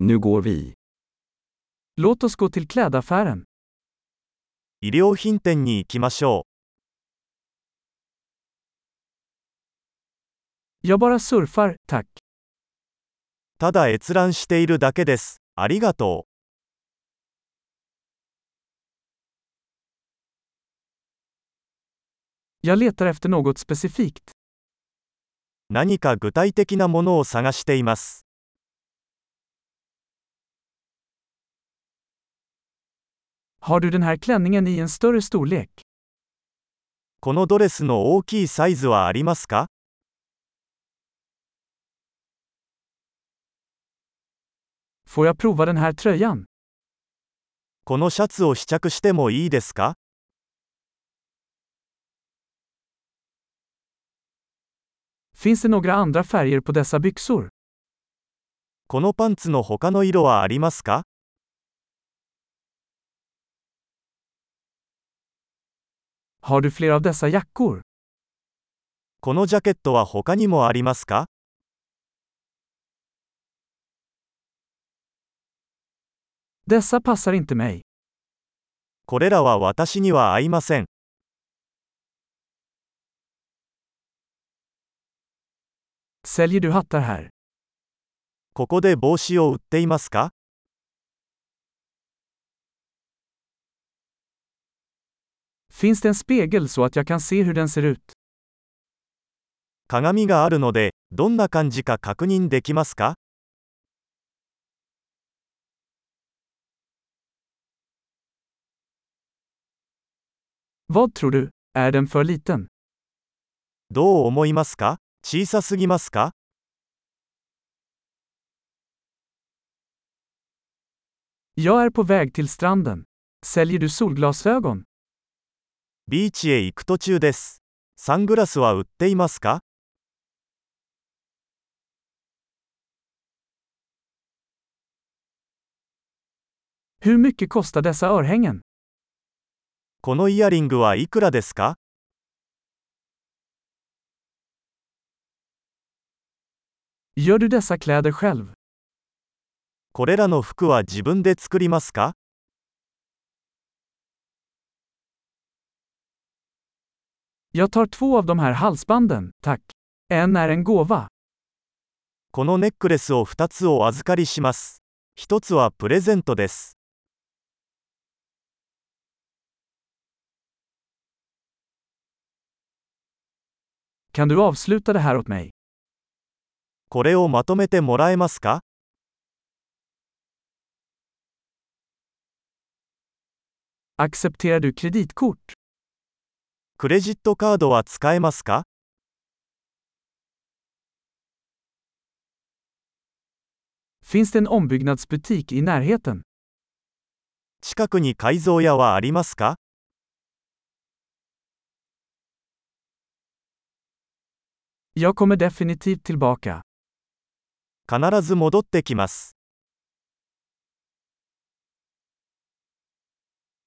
Nu går vi. Låt oss gå till klädaffären. 衣料品店に行きましょ Jag bara surfar, tack. う。ただ閲覧しているだけです。ありがと Jag letar efter något specifikt. う。何か具体的なものを探しています。 Har du den här klänningen i en större storlek? このドレスの大きいサイズはありますか Får jag prova den här tröjan? このシャツを試着してもいいですか Finns det några andra färger på dessa byxor? このパンツの他の色はありますか Har du fler av dessa jackor? このジャケットは他にもありますか Dessa passar inte mig. これらは私には合いません。 Säljer du hattar här? ここで帽子を売っていますか Finns det en spegel så att jag kan se hur den ser ut? 鏡があるので、どんな感じか確認できますか Vad tror du? Är den för liten? どう思いますか小さすぎますか Jag är på väg till stranden. Säljer du solglasögon? ビーチへ行く途中です。サングラスは売っていますか Hur mycket kostar dessa örhängen? このイヤリングはいくらですか Gör du dessa kläder själv? これらの服は自分で作りますか Jag tar två av de här halsbanden, tack. En är en gåva. このネックレスを2つお預かりします。1つはプレゼントです。 Kan du avsluta det här åt mig? これをまとめてもらえますか Accepterar du kreditkort? クレジットカードは使えますか Finns det en ombyggnadsbutik i närheten? 近くに改造屋はありますか Jag kommer definitivt tillbaka. 必ず戻ってきます。